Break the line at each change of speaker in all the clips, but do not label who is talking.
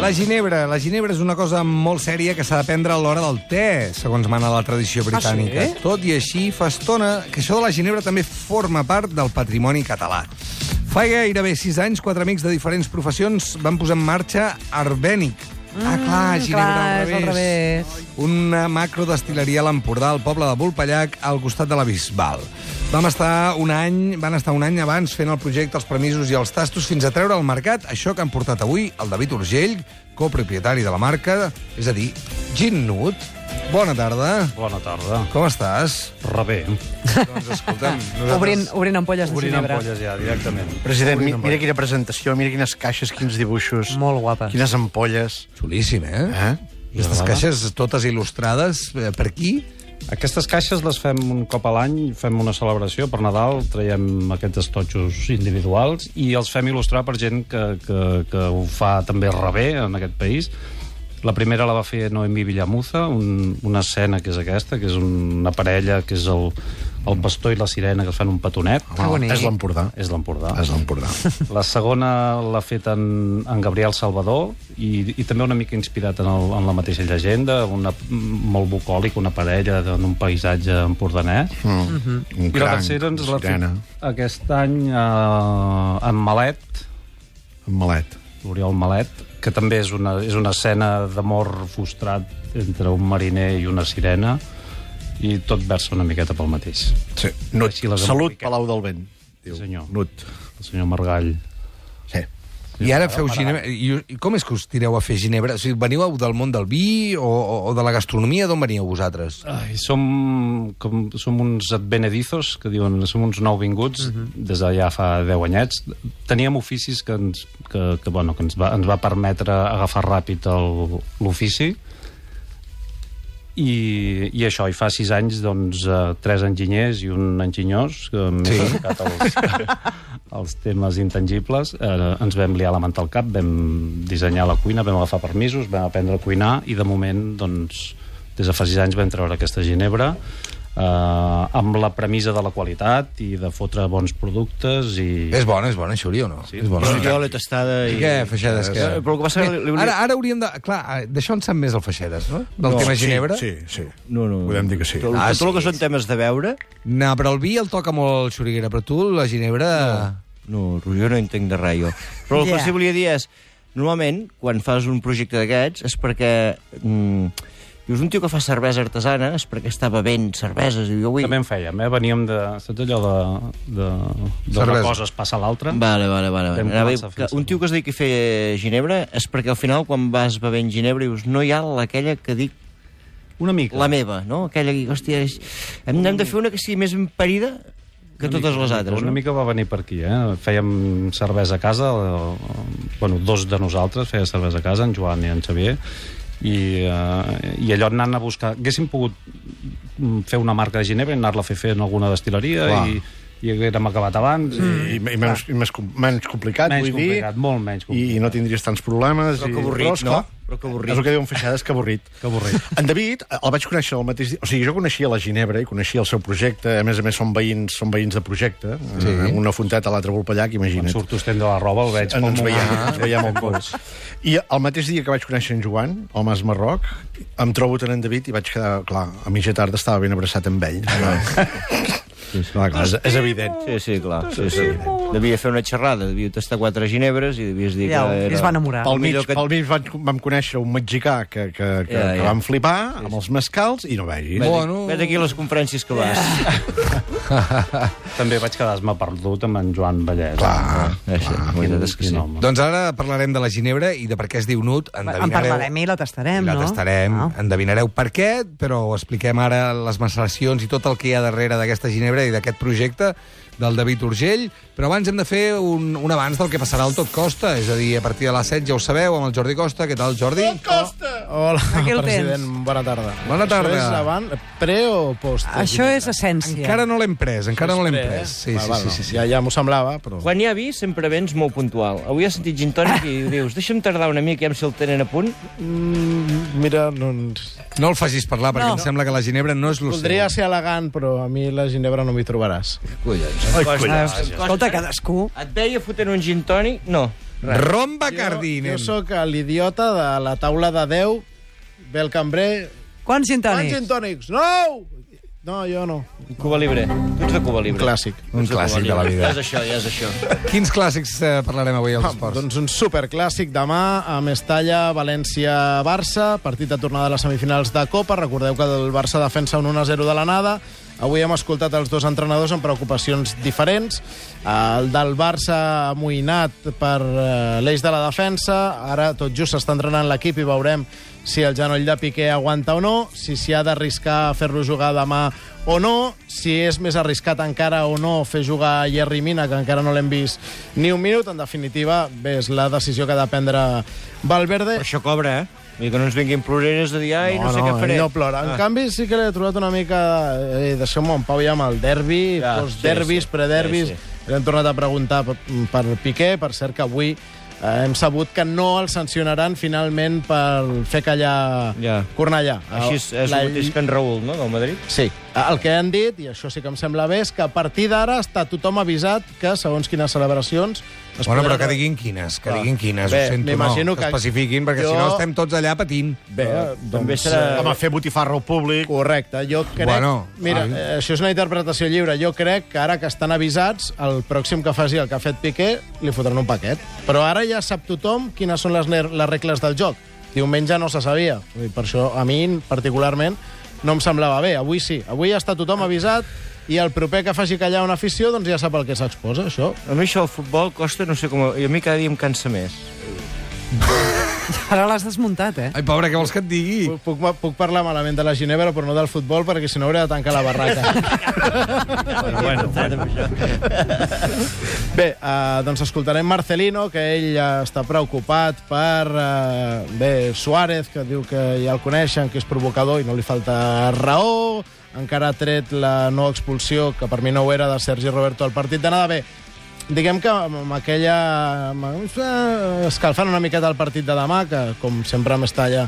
La ginebra. La ginebra és una cosa molt sèria que s'ha de prendre a l'hora del te, segons mana la tradició britànica.
sí?
Tot i així, fa estona que això de la ginebra també forma part del patrimoni català. Fa gairebé sis anys, quatre amics de diferents professions van posar en marxa Arbènic. ah, clar, Ginebra
clar,
al
és al
revés.
revés.
Una macrodestileria a l'Empordà, al poble de Volpellac, al costat de la Bisbal. Vam estar un any, van estar un any abans fent el projecte, els permisos i els tastos fins a treure al mercat això que han portat avui el David Urgell, copropietari de la marca, és a dir, Ginnut. Bona tarda.
Bona tarda.
Com estàs?
Rebé. eh?
doncs escolta'm,
Obrint, obrint ampolles de
Obrint
ginebra.
ampolles ja, directament.
President, mi, mira quina presentació, mira quines caixes, quins dibuixos.
Molt guapa.
Quines ampolles.
Xulíssim, eh?
Ah,
Eh?
Aquestes caixes totes il·lustrades, eh, per qui?
Aquestes caixes les fem un cop a l'any, fem una celebració per Nadal, traiem aquests estotxos individuals i els fem il·lustrar per gent que, que, que ho fa també rebé en aquest país. La primera la va fer Noemí Villamuza, un, una escena que és aquesta, que és un- una parella, que és el, el bastó i la sirena que es fan un petonet.
Que bonic.
Oh, És l'Empordà.
És l'Empordà.
És l'Empordà.
La segona l'ha fet en, en Gabriel Salvador i, i també una mica inspirat en, el, en la mateixa llegenda, una, molt bucòlic, una parella en un paisatge empordanès.
Mm. Mm -hmm.
Mhm.
Un
I la
cranc,
tercera ens
una
l'ha fet
sirena,
aquest any eh, en Malet,
un malet.
l'Oriol Malet, que també és una, és una escena d'amor frustrat entre un mariner i una sirena i tot versa una miqueta pel mateix.
Sí. Nut.
Així les
Salut,
emboliquem.
Palau del Vent. Diu.
Sí, senyor.
Nut.
El senyor Margall.
Sí.
I ara feu ginebra... I, i com és que us tireu a fer ginebra? O sigui, veniu del món del vi o, o, o de la gastronomia? D'on veníeu vosaltres?
Ai, som, com, som uns advenedizos, que diuen, som uns nouvinguts, des de ja fa 10 anyets. Teníem oficis que ens, que, que, bueno, que ens, va, ens va permetre agafar ràpid el- l'ofici, i, i això, i fa 6 anys, doncs, eh, tres enginyers i un enginyós, que m'he
Sí.
dedicat als, als temes intangibles, eh, ens vam liar la manta al cap, vam dissenyar la cuina, vam agafar permisos, vam aprendre a cuinar, i de moment, doncs, des de fa 6 anys vam treure aquesta ginebra, eh, amb la premissa de la qualitat i de fotre bons productes i...
És bona, és bona, Xuri, o no? Sí, és bona.
Però jo l'he tastada
I
i...
què, Feixedes, què?
Eh, Però el que passa...
Bé,
Li, li...
Ara, ara hauríem de... Clar, eh, d'això en sap més el Feixedes, no? Del no, tema Ginebra?
Sí, sí.
No, no.
Podem dir que sí.
Però
Ah,
ah, tot el que
sí.
són temes de beure,
No, però el vi el toca molt el Xuriguera, però tu, la Ginebra...
no, jo no entenc de res, jo. Però el
Ja.
que sí que volia dir és, normalment, quan fas un projecte d'aquests, és perquè... Mm, dius, un tio que fa cervesa artesana és perquè està bevent cerveses. Diu, jo vull...
També en fèiem, eh? Veníem de... Saps allò de... de, de una
Cervesa.
cosa es passa a l'altra?
Vale, vale, vale. vale.
Vam
Anava a dir
començar
que
fins
un
a-
tio que es dediqui a fer ginebra és perquè al final, quan vas bevent ginebra, dius, no hi ha aquella que dic
Una mica.
la meva, no? Aquella que, hòstia, és- hem, hem de fer una que sigui més emparida que totes les altres,
Una
no?
mica va venir per aquí, eh? Fèiem cervesa a casa, eh, bueno, dos de nosaltres feia cervesa a casa, en Joan i en Xavier, i, eh, i allò anant a buscar... Haguéssim pogut mm, fer una marca de Ginebra i anar-la a fer fer en alguna destil·leria
Clar.
i, i haguérem acabat abans. Mm.
I, i, menys, i més, com- menys complicat,
Menys
vull
complicat,
dir.
molt menys complicat.
I, I no tindries tants problemes.
Però
i...
que avorrit,
esclar,
no? Però que avorrit.
És el que diuen Feixades, que avorrit.
Que avorrit.
En David eh, el vaig conèixer el mateix dia. O sigui, jo coneixia la Ginebra i coneixia el seu projecte. A més a més, són veïns, són veïns de projecte. Sí. Una fonteta a l'altra Volpellac,
Quan
imagina't. Eh,
surto estem de la roba, el veig
Ens
com...
veiem, ens veiem al pols. I el mateix dia que vaig conèixer en Joan, el Mas Marroc, em trobo tant en David i vaig quedar, clar, a mitja tarda estava ben abraçat amb ell. Sí, sí. Clar, clar, és, és evident.
Sí, sí, clar. Sí, sí. Devia fer una xerrada, devia tastar quatre ginebres i devies dir
Ja,
que
i
era...
es va enamorar.
Pel
El
Ah, mig,
millor que-
pel mig van, vam conèixer un mexicà que, que, que,
Ja,
que
ja.
vam flipar amb els mescals i no vegis.
Vet,
Bueno.
bueno... vet aquí les conferències que vas.
També vaig quedar-me perdut amb en Joan Vallès. Clar.
Això,
Ah,
la veritat és que Ah, sí.
Doncs ara parlarem de la Ginebra i de per què es diu Nut.
En parlarem i la tastarem,
la
no?
tastarem,
Ah.
endevinareu per què, però expliquem ara les maceracions i tot el que hi ha darrere d'aquesta ginebra i d'aquest projecte del David Urgell, però abans hem de fer un, un abans del que passarà al Tot Costa, és a dir, a partir de les 7 ja ho sabeu, amb el Jordi Costa. Què tal, Jordi?
Hola,
Aquí el
president, bona tarda.
Bona tarda.
Això és avant, pre o post?
Això és essència.
Encara no l'hem pres, encara no l'hem
Pre, eh?
pres. Sí,
Va,
sí,
va,
sí,
no.
sí, sí.
Ja, ja m'ho semblava, però...
Quan hi ha vi, sempre vens molt puntual. Avui has sentit gin tònic i dius, deixa'm tardar una mica, ja em sé el tenen a punt.
Mm, mira, no...
No el facis parlar, perquè em sembla que la ginebra no és l'ocell.
Voldria ser elegant, però a mi la Ginebra no m'hi trobaràs.
Collons. Ai,
Ah, Escolta, cadascú...
Et veia fotent un gin tònic? No.
Rom Bacardi,
Jo,
nen.
jo sóc l'idiota de la taula de 10 ve el cambrer...
Quants gin
Quants
tònics?
gintònics? No! No, jo no.
Cuba Libre. Tu ets de Cuba Libre.
Clàssic.
Un clàssic de la vida.
Ja és això, ja és això.
Quins clàssics eh, parlarem avui als esports?
Doncs un superclàssic demà a Mestalla, València, Barça, partit de tornada a les semifinals de Copa. Recordeu que el Barça defensa un 1-0 de l'anada. Avui hem escoltat els dos entrenadors amb preocupacions diferents. El del Barça amoïnat per eh, l'eix de la defensa. Ara tot just s'està entrenant l'equip i veurem si el genoll de Piqué aguanta o no, si s'hi ha d'arriscar a fer-lo jugar demà o no, si és més arriscat encara o no fer jugar a Jerry Mina, que encara no l'hem vist ni un minut. En definitiva, bé, és la decisió que ha de prendre Valverde.
Però això cobra, eh? Vull dir que no ens vinguin ploreres de dir, ai, no, no sé què faré. Ah.
ell no plora. En canvi, sí que l'he trobat una mica... Eh, Deixeu-me en pau ja amb el derbi, ja,
Ja,
postderbis,
Ah, sí,
sí,
sí.
prederbis...
Sí,
Sí, sí. L'hem tornat a preguntar per, per Piqué, per cert que avui eh, hem sabut que no el sancionaran finalment per fer callar ja.
Ja.
Cornellà.
Així és, és
La-
el mateix que en Raül, no?, del Madrid.
Sí. El que han dit, i això sí que em sembla bé, és que a partir d'ara està tothom avisat que, segons quines celebracions... es
Bueno, però
podran-
que diguin quines, que
Clar.
diguin quines,
Bé,
ho sento, no, que,
m'imagino
que
que
especifiquin, perquè
jo-
si no estem tots allà patint.
Bé,
eh, També
doncs,
eh,
serà...
Home, fer botifarra al públic...
Correcte, jo crec...
Bueno,
mira,
ai.
eh, això és una interpretació lliure. Jo crec que ara que estan avisats, el pròxim que faci el que ha fet Piqué, li fotran un paquet. Però ara ja sap tothom quines són les, ner- les regles del joc. Diumenge no se sabia. Vull dir, Per això, a mi, particularment, no em semblava bé. Avui sí. Avui està tothom avisat i el proper que faci callar una afició doncs ja sap el que s'exposa, això.
A mi això del futbol costa, no sé com... I a mi cada dia em cansa més.
Ara l'has desmuntat, eh?
Ai, pobre, què vols que et digui?
Puc, puc, puc parlar malament de la Ginebra, però no del futbol, perquè si no hauré de tancar la barraca.
Però bueno, bueno.
bé, eh, doncs escoltarem Marcelino, que ell eh, està preocupat per eh, bé, Suárez, que diu que ja el coneixen, que és provocador i no li falta raó. Encara ha tret la no expulsió, que per mi no ho era, de Sergi Roberto al partit de nada. Bé, diguem que amb amb aquella... amb- eh, Escalfant una miqueta el partit de demà, que com sempre amb Estalla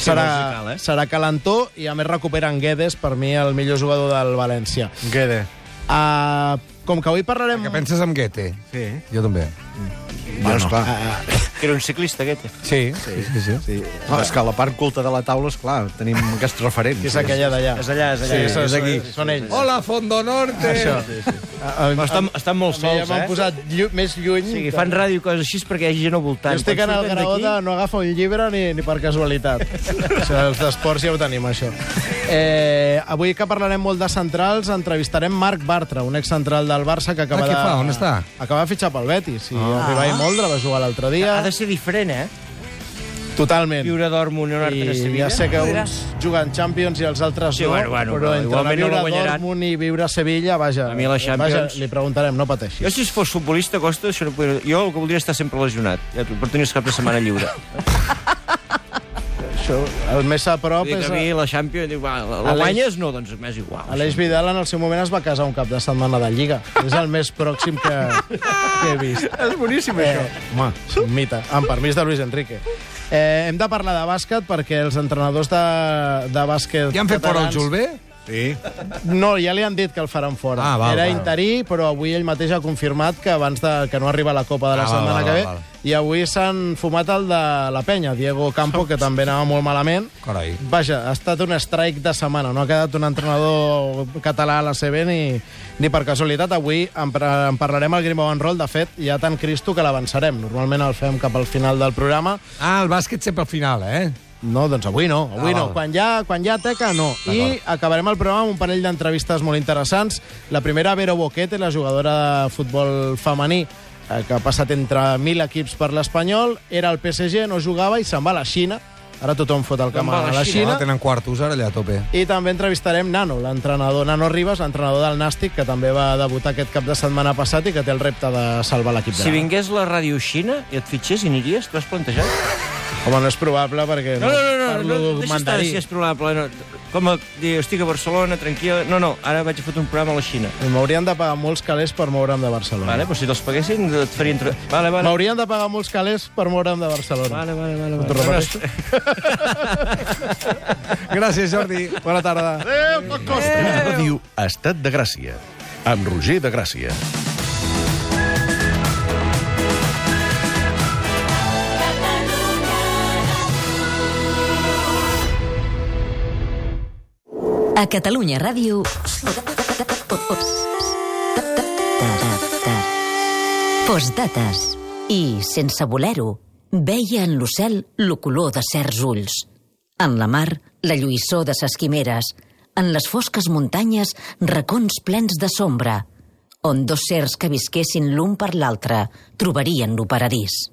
serà,
musical, eh?
serà calentó, i a més recuperen Guedes, per mi el millor jugador del València.
Guede.
Uh, com que avui parlarem...
Que penses en Goethe?
Sí.
Jo també.
Bueno, esclar.
Que era un ciclista, aquest.
Sí, sí, sí. sí, sí.
Ah, és que la part culta de la taula, és clar, tenim aquests referents.
Que és aquella d'allà.
És allà, és allà.
Sí, són,
és aquí.
Són ells.
Hola, Fondo Norte! Això.
A, a,
Però estan, estan molt
a mi ja
sols,
m'han
eh?
posat llu més lluny.
O sigui, fan ràdio i coses així perquè hi hagi gent al
Jo
voltant.
estic en el
Quan surten
grau
d'aquí,
de no agafa un llibre ni, ni per casualitat. o sigui, els d'esports ja ho tenim, això. Eh, avui que parlarem molt de centrals, entrevistarem Marc Bartra, un excentral del Barça que acaba
Ah, què
de...
fa? On està?
Acaba de fitxar pel Betis. I ah. el Ribay Moldra va jugar l'altre dia.
Ha de ser diferent, eh?
Totalment.
Viure a Dortmund i un altre a
I
Sevilla.
ja sé que
Mira.
uns juguen Champions i els altres
Sí,
no,
bueno, bueno,
però
però
entre
igualment no
viure
la
a
guanyaran.
Dortmund i viure a Sevilla, vaja,
A mi la Champions-
vaja, li preguntarem, no
Jo,
pateixis.
si fos futbolista, Costa, això no podria... Jo el que voldria és estar sempre lesionat, ja, per tenir els caps de setmana lliure.
Això, el més a prop
Vull dir
és...
que a mi la Champions... Diu, va, la, la
Aleix-
guanyes? No, doncs m'és igual.
Aleix Vidal en el seu moment es va casar un cap de setmana de Lliga. És el més pròxim que, que he vist. És boníssim, eh, això. Home, és un mite. Amb permís de Luis Enrique. Eh, hem de parlar de bàsquet perquè els entrenadors de, de bàsquet...
Ja han fet fora el
catalans-
Julbé?
Sí.
No, ja li han dit que el faran fora.
Ah, val,
Era
val.
interí, però avui ell mateix ha confirmat que abans de, que no arriba a la Copa de
Ah,
la
val,
setmana
val,
que ve.
val, val.
I avui s'han fumat el de la penya, Diego Campo, que també anava molt malament.
Carai.
Vaja, ha estat un strike de setmana. No ha quedat un entrenador català a la CB ni, ni per casualitat. Avui en, par- en parlarem al Grimbau en Roll. De fet, ja tant Cristo que l'avançarem. Normalment el fem cap al final del programa.
Ah, el bàsquet sempre al final, eh?
No, doncs avui no, avui
Ah,
no.
val.
Quan ja, quan ja teca, no. I acabarem el programa amb un parell d'entrevistes molt interessants. La primera, Vero Boquete, la jugadora de futbol femení, eh, que ha passat entre mil equips per l'Espanyol, era al PSG, no jugava i se'n va a la Xina. Ara tothom fot el camp
va
a
a la
la
Xina.
Xina.
Ah, tenen quartos ara allà a tope.
I també entrevistarem Nano, l'entrenador Nano Ribas, l'entrenador del Nàstic, que també va debutar aquest cap de setmana passat i que té el repte de salvar l'equip.
Si
gran.
vingués la ràdio Xina i et fitxés, hi aniries? T'ho has plantejat?
Home, no és probable perquè
No, no, no, no,
parlo
no deixa estar
mandarí.
si és probable. No. Com a dir, estic a Barcelona, tranquil... No, no, ara vaig a fotre un programa a la Xina.
M'haurien de pagar molts calés per moure'm de Barcelona.
Vale, però si te'ls paguessin, et farien... Tra... Vale, vale.
M'haurien de pagar molts calés per moure'm de Barcelona.
Vale, vale, vale.
T'ho
vale.
repeteixo?
Gràcies, Jordi.
Bona tarda.
Eh,
Ràdio Estat de Gràcia, amb Roger de Gràcia.
A Catalunya Ràdio... Postdates. I, sense voler-ho, veia en l'ocel lo color de certs ulls. En la mar, la lluïssor de ses quimeres. En les fosques muntanyes, racons plens de sombra. On dos certs que visquessin l'un per l'altre trobarien lo paradís.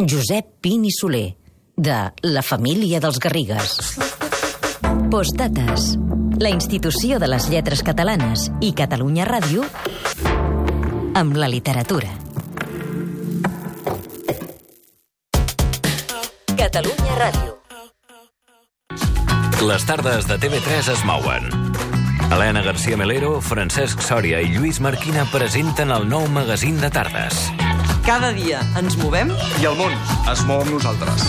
Josep Pin i Soler, de La família dels Garrigues. Postdates. La institució de les lletres catalanes i Catalunya Ràdio amb la literatura. Catalunya Ràdio.
Les tardes de TV3 es mouen. Helena García Melero, Francesc Sòria i Lluís Marquina presenten el nou magazín de tardes.
Cada dia ens movem
I el món es mou amb nosaltres.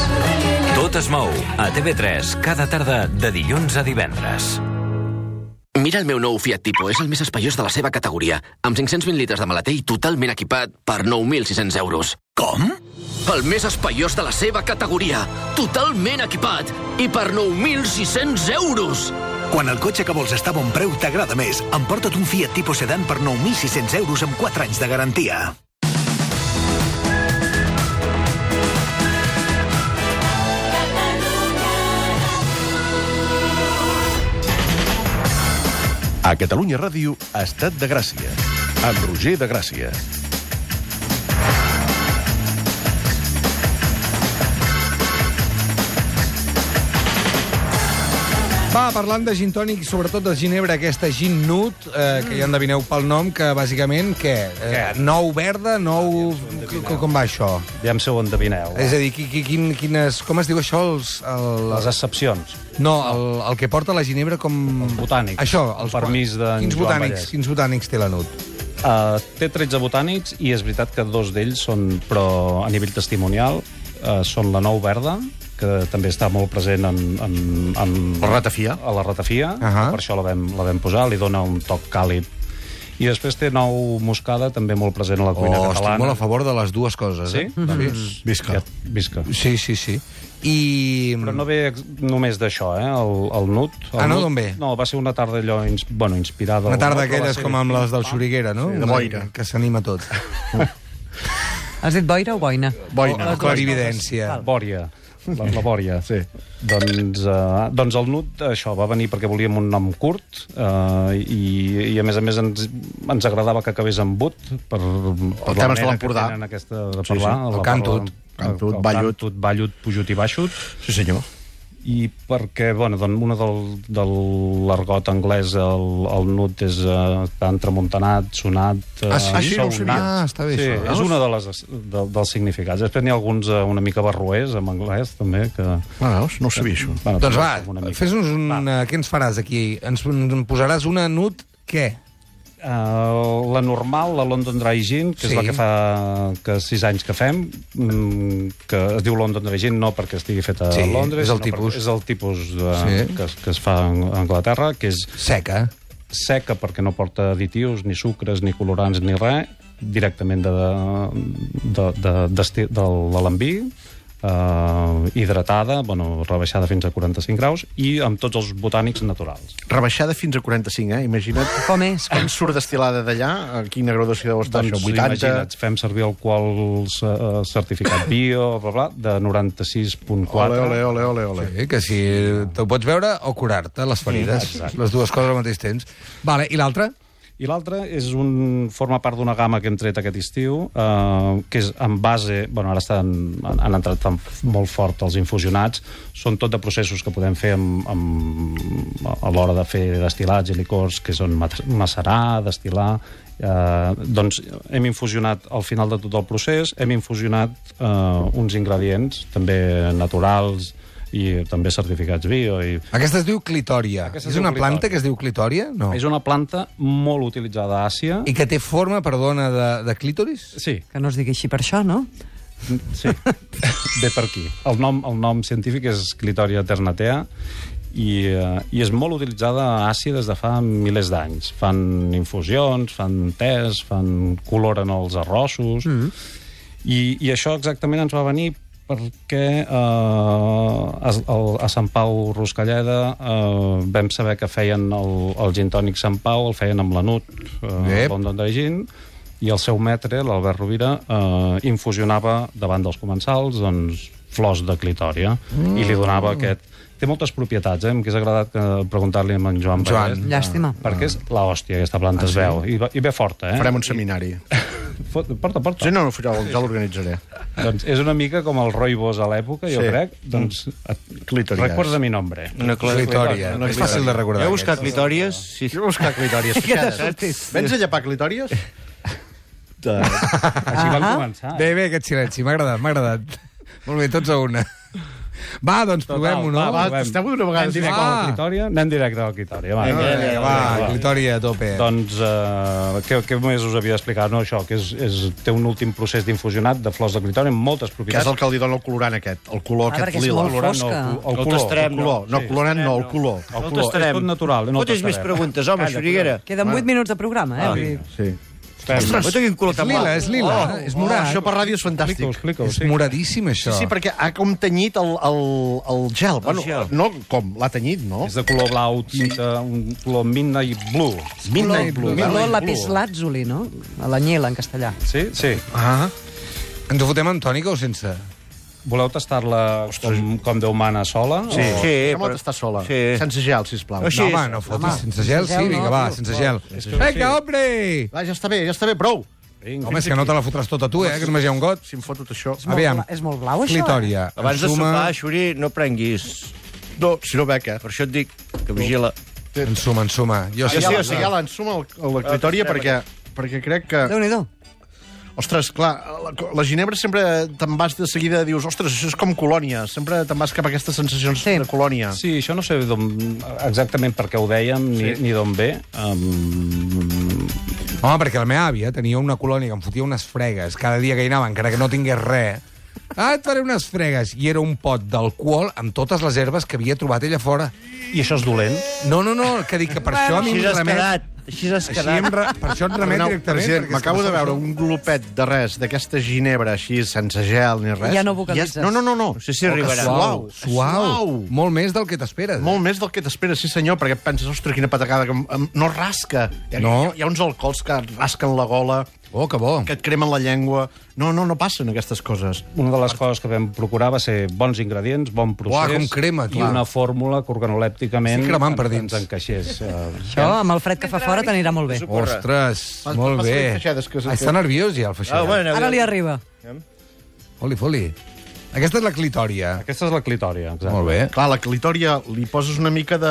Tot es mou a TV3 cada tarda de dilluns a divendres.
Mira el meu nou Fiat Tipo, és el més espaiós de la seva categoria, amb 520 litres de maleter i totalment equipat per 9.600 euros. Com? El més espaiós de la seva categoria, totalment equipat i per 9.600 euros!
Quan el cotxe que vols està a bon preu t'agrada més, emporta't un Fiat Tipo Sedan per 9.600 euros amb 4 anys de garantia.
A Catalunya Ràdio, Estat de Gràcia. Amb Roger de Gràcia.
Va, parlant de gin tònic i sobretot de ginebra, aquesta gin nut, eh, que ja endevineu pel nom, que bàsicament, què? Eh, nou verda, nou... Com, com va això?
Aviam si ho endevineu.
Eh.
És a dir, qui, qui, quin, quines... Com es diu això? Els, el,
Les excepcions.
No, el, el que porta la ginebra com...
Els botànics.
Això,
El permís d'en
quins
Joan
botànics,
Vallès.
quins botànics té la nut?
Uh, té 13 botànics i és veritat que dos d'ells són, però a nivell testimonial, uh, són la Nou Verda, que també està molt present en... en, en
La ratafia.
a la ratafia, uh
Ahà.
-huh. per això la vam, la vam posar, li dona un toc càlid. I després té nou moscada, també molt present a la cuina
Oh, estic
catalana.
molt a favor de les dues coses,
Sí? Mm-hmm. Doncs
eh? Sí?
Visca.
Ja, visca.
Sí, sí, sí. I...
Però no ve ex- només d'això, eh? El, el Nut... El
Ah, no?
Nut-
D'on ve?
No, va ser una tarda allò, ins, bueno, inspirada...
Una tarda
que
aquelles com amb les del Xuriguera, no?
Sí, de boira.
Que s'anima tot.
Has dit boira o boina?
Boina.
Les dues
Clarividència.
coses.
Bòria. La, la Bòria. sí. Doncs, uh, doncs el Nut, això, va venir perquè volíem un nom curt uh, i, i, a més a més, ens, ens agradava que acabés amb But per, per la
temes de
manera
l'Empordà.
que tenen Aquesta, de parlar,
sí, el
la
cantut.
parla-
Cantut,
el
ballut.
Cantut, ballut, pujut i baixut.
Sí, senyor.
I perquè, bueno, doncs una del, de l'argot anglès, el, el nut és uh, entremuntanat, sonat... Uh,
Ah, sí? Ah, sí, no ho
sonat.
sabia. Ah, està bé,
sí,
això, veus?
És una de les, de, dels significats. Després n'hi ha alguns uh, una mica barroers, en anglès, també, que...
Ah, veus? No ho sabia, això.
Bueno,
Doncs
una
va,
mica.
fes-nos un... eh, Què ens faràs aquí? Ens en posaràs una nut... Què?
Uh, la normal, la London Dry Gin,
Sí.
que sí. és la que fa que sis anys que fem, mm, que es diu London Dry Gin no perquè estigui feta
Sí,
a Londres,
és el
sinó perquè
tipus.
és el tipus de,
Sí.
sí. que, es- que es fa a Anglaterra, que és
Seca.
seca perquè no porta additius, ni sucres, ni colorants, ni res, directament de, de, de, de, de l'alambí, eh, hidratada, bueno, rebaixada fins a 45 graus, i amb tots els botànics naturals.
Rebaixada fins a 45, eh? Imagina't.
Com és?
En surt destil·lada d'allà, a quina graduació deu estar doncs, això? 80?
imagina't, fem servir alcohol ce- eh, certificat bio, bla, bla, de 96.4.
Ole, ole, ole, ole, ole.
Sí, Eh, que si t'ho pots veure o curar-te, les ferides. Les dues coses al mateix temps. Vale, I l'altra?
I l'altra és un, forma part d'una gamma que hem tret aquest estiu, eh, que és en base... Bueno, ara estan, han, han entrat tan, molt fort els infusionats. Són tot de processos que podem fer amb, amb, a l'hora de fer destilats i licors, que són mat- macerar, destil·lar... Eh, doncs hem infusionat al final de tot el procés, hem infusionat eh, uns ingredients també naturals i també certificats bio i
Aquesta es diu clitòria.
Aquesta
És
es diu
una planta
clitòria.
que es diu clitòria? No.
és una planta molt utilitzada a Àsia
I que té forma, perdona, de, de clítoris?
Sí,
Que no es digui així per això, no?
Sí, ve per aquí. El nom, el nom científic és Clitoria eternatea i, eh, i és molt utilitzada a Àsia des de fa milers d'anys. Fan infusions, fan tés, fan coloren els arrossos... Mm. I, I això exactament ens va venir perquè eh, a, el- a Sant Pau Ruscalleda eh, vam saber que feien el, el gin tònic Sant Pau, el feien amb l'Anut, eh,
Ep.
London Dry Gin, i el seu metre, l'Albert Rovira, eh, infusionava davant dels comensals doncs, flors de clitòria mm. i li donava aquest... Té moltes propietats, eh? M'hauria agradat que- preguntar-li a en Joan,
Joan.
Pallet,
Llàstima.
perquè és la hòstia, aquesta planta
Ah,
es
sí?
veu. I, ve- I ve forta, eh?
Farem un seminari.
Fot- Porta, porta.
Sí, no, ja ho- ja l'organitzaré.
Doncs és una mica com el roibos a l'època, jo
Sí.
crec. Doncs,
Clitorias.
Recorda mi nombre.
Una cla- Clitòria.
És fàcil de recordar,
Heu buscat
aquests.
clitòries? Sí.
Jo he buscat clitòries. fixa't. Vens a llepar clitòries?
Així van començar.
Bé, bé, aquest silenci. M'ha agradat, m'ha agradat. Molt bé, tots a una. Va, doncs provem-ho, no?
Ah, va, va, provem.
Esteu d'una
Anem
vegada.
directe a la
Ah.
clitòria? Anem directe a la clitòria. Va,
Vinga,
va,
vinga, va, clitòria a tope.
Doncs, eh, què, què més us havia d'explicar? No, això, que és, és, té un últim procés d'infusionat de flors de clitòria amb moltes
Que és
propietats.
el que li dona el colorant aquest, el color
Ah,
aquest
perquè és
lila.
molt
El colorant,
fosca.
no,
El
el
color,
colorant,
el
no,
color,
no,
sí.
colorant no, el color.
El color,
el
és
tastarem.
tot natural. eh, No el
Fotis més
tastarem.
preguntes, home,
Calla,
Xuriguera.
Queden 8 minuts de programa, eh?
Ah,
Vull dir,
vinga.
Sí.
Fem.
Escolta, quin cul
És lila, és lila, és morat.
Oh, Això per ràdio és
Explica-ho,
fantàstic.
explica-ho.
És
Sí.
moradíssim, això.
Sí, sí, perquè ha com tenyit el, el, el gel. bueno,
gel.
No com, l'ha tenyit, no?
És de color blau, tinta, un color midnight blue.
Midnight Blue.
Color
Midnight
lapis lazuli, no? A l'anyela, en castellà.
Sí? Sí.
Ah. Ens ho fotem amb tònica o sense?
Voleu tastar-la com, com Déu mana sola?
Sí,
O...
sí,
Deixa'm
però...
estar sola.
Sí.
Sense gel, sisplau.
Així
no,
és.
home, no fotis.
Home,
sense gel,
sense
sí,
gel,
vinga,
no,
va,
tio.
sense gel.
És que
Vinga,
sí.
hombre!
Va, ja està bé, ja està bé, prou.
Vinga.
Home, és que no te la fotràs tota tu, eh, que només hi ha un got.
Si em foto tot això...
molt
Aviam.
bla- és molt blau, això, eh?
Clitòria.
Abans de
ensuma-
sopar, Xuri, no prenguis.
No, si no bec, eh?
Per això et dic que vigila.
Ensuma, ensuma. Jo sí,
Sí,
sí,
o sigui, ja l'ensuma la clitòria perquè, perquè crec que...
Déu-n'hi-do.
Ostres, clar, la, la Ginebra sempre te'n vas de seguida i dius, ostres, això és com colònia, sempre te'n vas cap a aquestes sensacions
Sí.
de colònia.
Sí, això no sé d'on- exactament per què ho dèiem ni, ni d'on ve. Um,
Home, perquè la meva àvia tenia una colònia que em fotia unes fregues cada dia que hi anava, encara que no tingués res. Ah, et faré unes fregues. I era un pot d'alcohol amb totes les herbes que havia trobat ella fora.
I això és dolent?
No, no, no, que dic que per això a mi
Així
em
has
remet...
quedat. Així has
Així em
quedat.
re... Per això et remet
Perdoneu,
directament.
president,
perquè és que
M'acabo
no
de
sé
veure
com-
un glopet de res, d'aquesta ginebra així, sense gel ni res.
Ja no vocalitzes.
Ja és- No, no, no. no. Oh,
No sé si arribarà.
Suau.
Suau, suau.
Molt més del que t'esperes. eh?
Molt més del que t'esperes, sí senyor, perquè penses, ostres, quina patacada, que em- em- no rasca. Hi ha,
No.
hi ha- hi ha uns alcohols que rasquen la gola,
Oh, que bo.
que et cremen la llengua. No, no, no passen aquestes coses.
Una de les coses que vam procurar va ser bons ingredients, bon procés...
Uah, com crema,
I
clar.
una fórmula que organolèpticament...
Estic cremant per
ens-
dins.
Ens encaixés. eh.
Això, amb el fred que fa fora, t'anirà molt bé.
Ostres,
Pas-
molt
passa
bé.
les feixades, que és el
Ah,
que-
està nerviós ja, el
Ah,
feixada.
bueno,
Ara li arriba.
Foli, foli. Aquesta és la clitòria.
Aquesta és la clitòria, exacte.
Molt bé.
Clar, la clitòria li poses una mica de...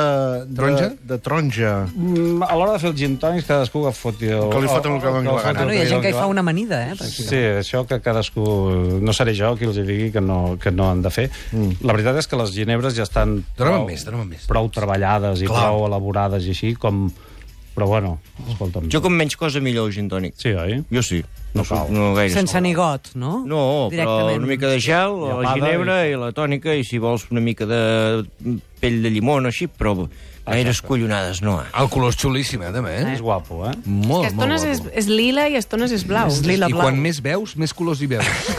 de
Taronja?
De taronja.
Mm, A l'hora de fer els gin tònics, cadascú que foti... El,
Que li foten el que doni la gana.
Bueno, hi ha gent que hi fa una amanida, eh? Perquè-
Sí, això que cadascú... No seré jo qui els hi digui que no, que no han de fer. Mm. La veritat és que les ginebres ja estan
Dóna'm més, dóna'm més.
prou treballades i
Clar.
prou elaborades i així, com... Però bueno, escolta'm...
Jo com menys cosa millor, el gin tònic.
Sí, oi?
Jo sí. No,
cal.
No gaire.
Sense ni got, no?
No, però
Directament.
una mica de gel,
I
la
apada,
ginebra i la tònica, i si vols una mica de pell de llimona, així, però gaires collonades no. eh?
El color és xulíssim, eh, també, eh?
És guapo, eh?
Molt,
Que
molt
estones és,
guapo.
és lila i estones és blau.
És lila
I
blau.
quan més veus, més colors hi veus.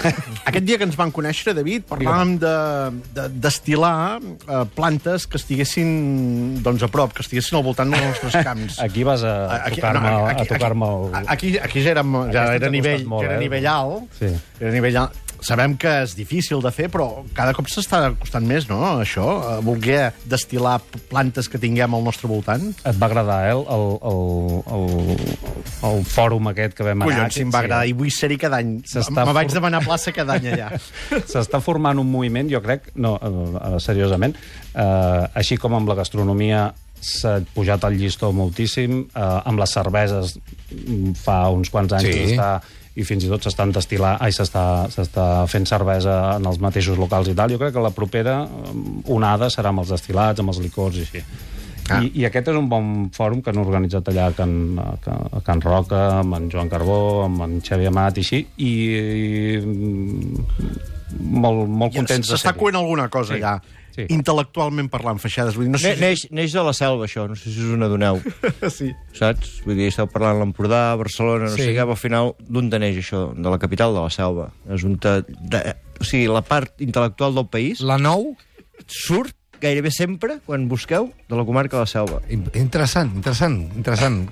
Aquest dia que ens van conèixer, David, parlàvem de- de- d'estilar de, eh, plantes que estiguessin doncs, a prop, que estiguessin al voltant dels nostres camps.
Aquí vas a, a tocar-me no,
aquí-
a tocar-me el...
Aquí, aquí, aquí ja, érem, ja
Aquesta
era,
t'ha
nivell,
costat molt,
ja era
eh?
nivell alt.
Sí.
Era nivell alt. Sabem que és difícil de fer, però cada cop s'està costant més, no?, això, eh, voler destilar plantes que tinguem al nostre voltant.
Et va agradar, eh, el, el, el, el, el fòrum aquest que vam anar.
Collons, si em va agradar, i vull ser-hi cada any.
S'està
Me vaig
for-
demanar plaça cada any allà.
S'està formant un moviment, jo crec, no, eh, eh, seriosament, eh, així com amb la gastronomia s'ha pujat el llistó moltíssim, eh, amb les cerveses mm, fa uns quants anys
Sí.
sí. està, i fins i tot s'estan destil·lant, ai, s'està s'està fent cervesa en els mateixos locals i tal. Jo crec que la propera mm, onada serà amb els destil·lats, amb els licors i així. Ah. I, I aquest és un bon fòrum que han organitzat allà a Can, a, Can, a Can Roca, amb en Joan Carbó, amb en Xavi Amat i així, i, i mm, molt, molt contents de
S'està
ser-hi.
coent alguna cosa
Sí,
sí. allà,
sí.
sí. intel·lectualment parlant, feixades. Vull dir, no sé
Ne-
si...
Neix, neix de la selva, això, no sé si us n'adoneu,
Sí.
saps? Vull dir, esteu parlant l'Empordà, Barcelona, no
Sí.
sé què, però al final d'on te neix això, de la capital de la selva. És un te... De, o sigui, la part intel·lectual del país...
La 9?
Surt gairebé sempre, quan busqueu, de la comarca de la Selva.
Interessant, interessant, interessant.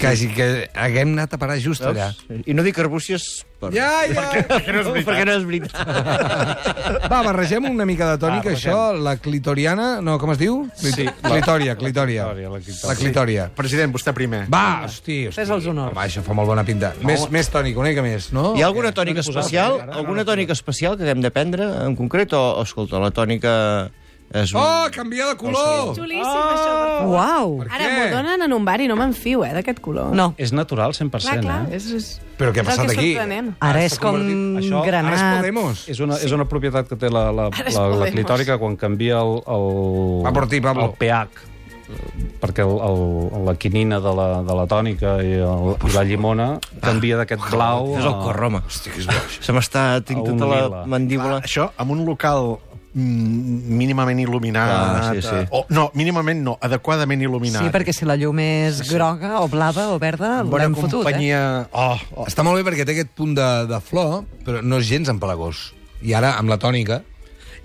Quasi que haguem anat a parar just allà.
I no dic arbúcies... Per...
Ja, ja.
Perquè, no és veritat. Perquè no és veritat.
Va, barregem una mica de tònic,
Va, barregem.
això, la clitoriana... No, com es diu? Clit-
Sí.
Clitòria, clitòria.
La
La clitòria.
President, vostè primer.
Va, hosti, hosti. Fes els honors. Home, això fa molt bona pinta. Més, més tònic, una mica més, no?
Hi ha alguna
Què?
tònica especial? Alguna tònica especial que haguem de prendre en concret? O, escolta, la tònica... És un...
Oh, canvia de color!
Xulíssim, oh! això, per favor.
Uau!
Per
Ara
què?
m'ho donen en un bar i no m'enfio, eh, d'aquest color.
No.
És natural, 100%,
Clar, clar,
eh?
és, és...
Però què ha
és el
passat
que és
aquí?
sorprenent.
Ara és com
Això,
granat.
És una, és una propietat que té la, la,
Ara és
la, la
Podemos.
clitòrica quan canvia el, el,
Va por ti, Pablo.
el pH eh, perquè el, el, la quinina de la, de la tònica i, el, i la llimona canvia d'aquest blau...
És el
a-
cor, home.
Hosti, que és bo, això.
Se m'està...
A
Tinc
un
tota la
lila.
mandíbula...
Això, amb un local mm, mínimament il·luminat...
Ah,
Clar, sí, sí.
eh, O, no, mínimament no, adequadament il·luminat.
Sí, perquè si la llum és groga o blava o verda,
Bona
l'hem fotut, eh?
companyia... Oh, oh.
Està molt bé perquè té aquest punt de, de flor, però no és gens empalagós. I ara, amb la tònica...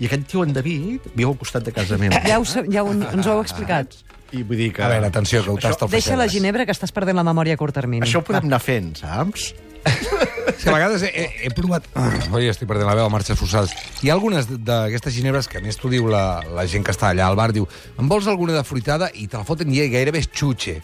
I aquest tio, en David, viu al costat de casa meva.
eh? Ja, ho, sa- ja ho, ens ho heu explicat.
Ah, I vull dir que...
A veure, atenció, que ho tasta el
Deixa la
Feixedes.
ginebra, que estàs perdent la memòria a curt termini.
Això ho podem anar fent, saps?
És que a vegades he, he, he provat... Ah, Oi, estic perdent la veu a marxes forçades. Hi ha algunes d'aquestes ginebres que, a més, t'ho diu la, la gent que està allà al bar, diu, em vols alguna de fruitada? I te la foten i gairebé és xutxe.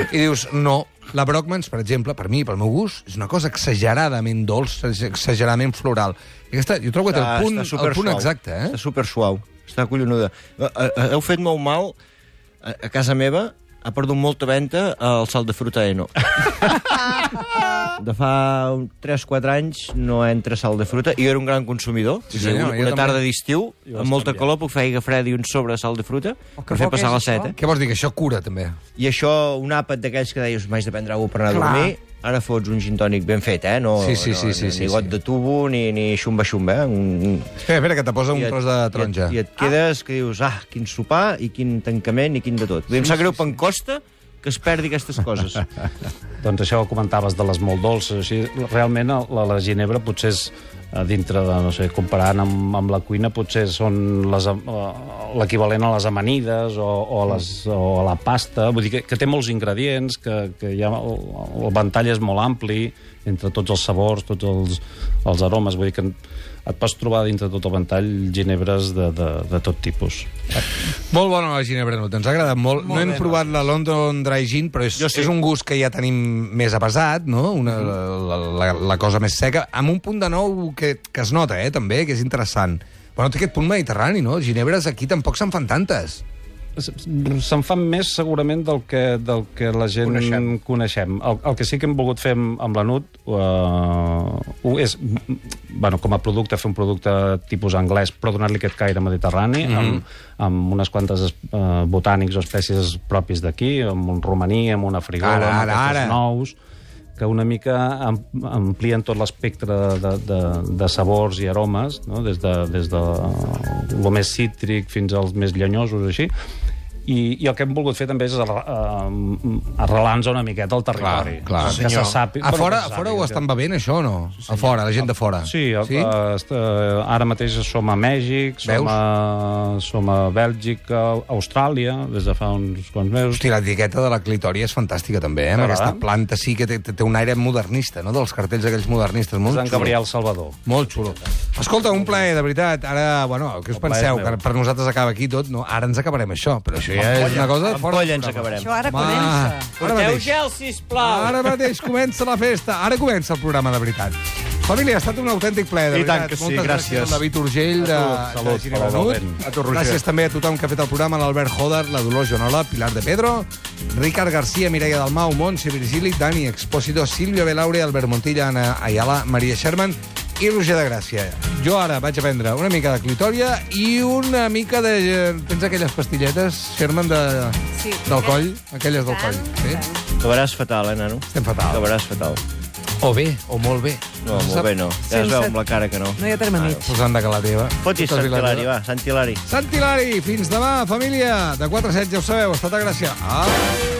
I dius, no. La Brockmans, per exemple, per mi, pel meu gust, és una cosa exageradament dolça, exageradament floral. I aquesta, jo trobo que té el punt, el punt
supersuau.
exacte, eh?
Està super suau. Està collonuda. Eh, eh, Heu fet molt mal eh, a a casa meva ha perdut molta venda el salt de fruta Eno. de fa un- 3-4 anys no entra salt de fruta. Jo era un gran consumidor.
Sí,
O sigui,
senyor,
una,
jo
una
també.
tarda d'estiu,
Jo
amb molta
també.
calor, puc fer aigua freda i un sobre de salt de fruta
Oh, que
per fer
bo que
passar
és
la
això.
set. Eh?
Què vols dir, que això cura, també?
I això, un àpat d'aquells que deies, m'haig de prendre alguna cosa per anar
Clar.
a dormir, ara fots un gin tònic ben fet, eh? No,
Sí, sí,
no,
sí,
no,
sí,
ni
sí,
got
sí.
de tubo, ni, ni xumba-xumba, eh? Un,
Espera, espera, que te posa un
i et-
tros de
i et-
taronja.
I et quedes que dius, ah, quin sopar i quin tancament i quin de tot. Sí, em sap greu, Pencosta, que es perdi aquestes coses.
Doncs això que comentaves de les molt dolces. Així, realment, la, la ginebra potser és eh, dintre de, no sé, comparant amb, amb la cuina, potser són les am- eh, l'equivalent a les amanides o, o, a les, o a la pasta. Vull dir que, que té molts ingredients, que, que hi ha, el, el ventall és molt ampli entre tots els sabors, tots els, els aromes. Vull dir que et pots trobar dintre tot el ventall ginebres de, de, de tot tipus.
Molt bona la ginebra nut, ens ha agradat molt. molt no hem provat la London Dry Gin, però és, sí. és un gust que ja tenim més avasat, no? Una, la, la, la cosa més seca, amb un punt de nou que, que es nota, eh, també, que és interessant. Però no té aquest punt mediterrani, no? Ginebres aquí tampoc se'n fan tantes.
se'n fan més segurament del que, del que la gent coneixem. coneixem. El, el que sí que hem volgut fer amb, amb la Nut uh, és, mm, bueno, com a producte, fer un producte tipus anglès, però donar-li aquest caire mediterrani,
Mhm.
mm -hmm. amb, amb unes quantes uh, botànics o espècies propis d'aquí, amb un romaní, amb una frigola,
Ara,
amb
ara,
aquests
ara.
nous que una mica am- amplien tot l'espectre de, de, de sabors i aromes, no? des de, des de eh, lo més cítric fins als més llenyosos, així. I, i el que hem volgut fer també és arre- eh, arrelar-nos una miqueta al territori.
clar.
Que se sàpiga...
A fora,
que
a
se
fora
sàpiga
ho
que- Ah,
estan bevent, això, o no? Sí, a fora, la gent de fora.
Sí, sí?
sí?
Eh, est- eh, ara mateix som a Mèxic, som
Veus?
a, som a Bèlgica, Austràlia, des de fa uns quants mesos.
Hosti, l'etiqueta de la clitòria és fantàstica, també, eh? Amb
T'agrada?
aquesta planta sí que té, té- té un aire modernista, no?, dels cartells aquells modernistes. Molt
Sant
xulo.
Gabriel Salvador.
Molt xulo. Escolta, un plaer, de veritat. Ara, bueno, què us
plaer és
penseu?
meu.
Que per nosaltres acaba aquí tot? No, ara ens acabarem això, però això ja és una cosa...
Amb
fora de
polla ens
programa.
acabarem.
Això ara
Va,
comença.
Ara mateix,
gel, sisplau!
ara mateix comença la festa, ara comença el programa, de veritat. Família, ha estat un autèntic plaer, de
I tant
veritat.
que sí,
Moltes
gràcies.
al David Urgell, de,
A tu, salut,
de Ginebra
salut,
Nut.
Albert. A tu, Roger.
Gràcies també a tothom que ha fet el programa, l'Albert Joder, la Dolors Joanola, Pilar de Pedro, Ricard Garcia, Mireia Dalmau, Montse Virgili, Dani Expósito, Silvio Belaure, Albert Montilla, Anna Ayala, Maria Sherman i Roger de Gràcia. Jo ara vaig a prendre una mica de clitòria i una mica de... Tens aquelles pastilhetes, Sherman, de...
Sí.
del coll? Aquelles del coll. Sí?
Acabaràs fatal, eh, nano?
Estem fatal.
Acabaràs fatal.
O bé, o molt bé.
No,
se
molt
sap.
bé no. Ja es
Sense-
veu amb la cara que no.
No hi ha terme mig.
Posant de cala teva.
Fotis,
Totes
Sant
vilanes.
Hilari, va, Sant Hilari.
Sant Hilari, fins demà, família. De 4 a 7, ja ho sabeu, estat a Gràcia. Ah. Adéu.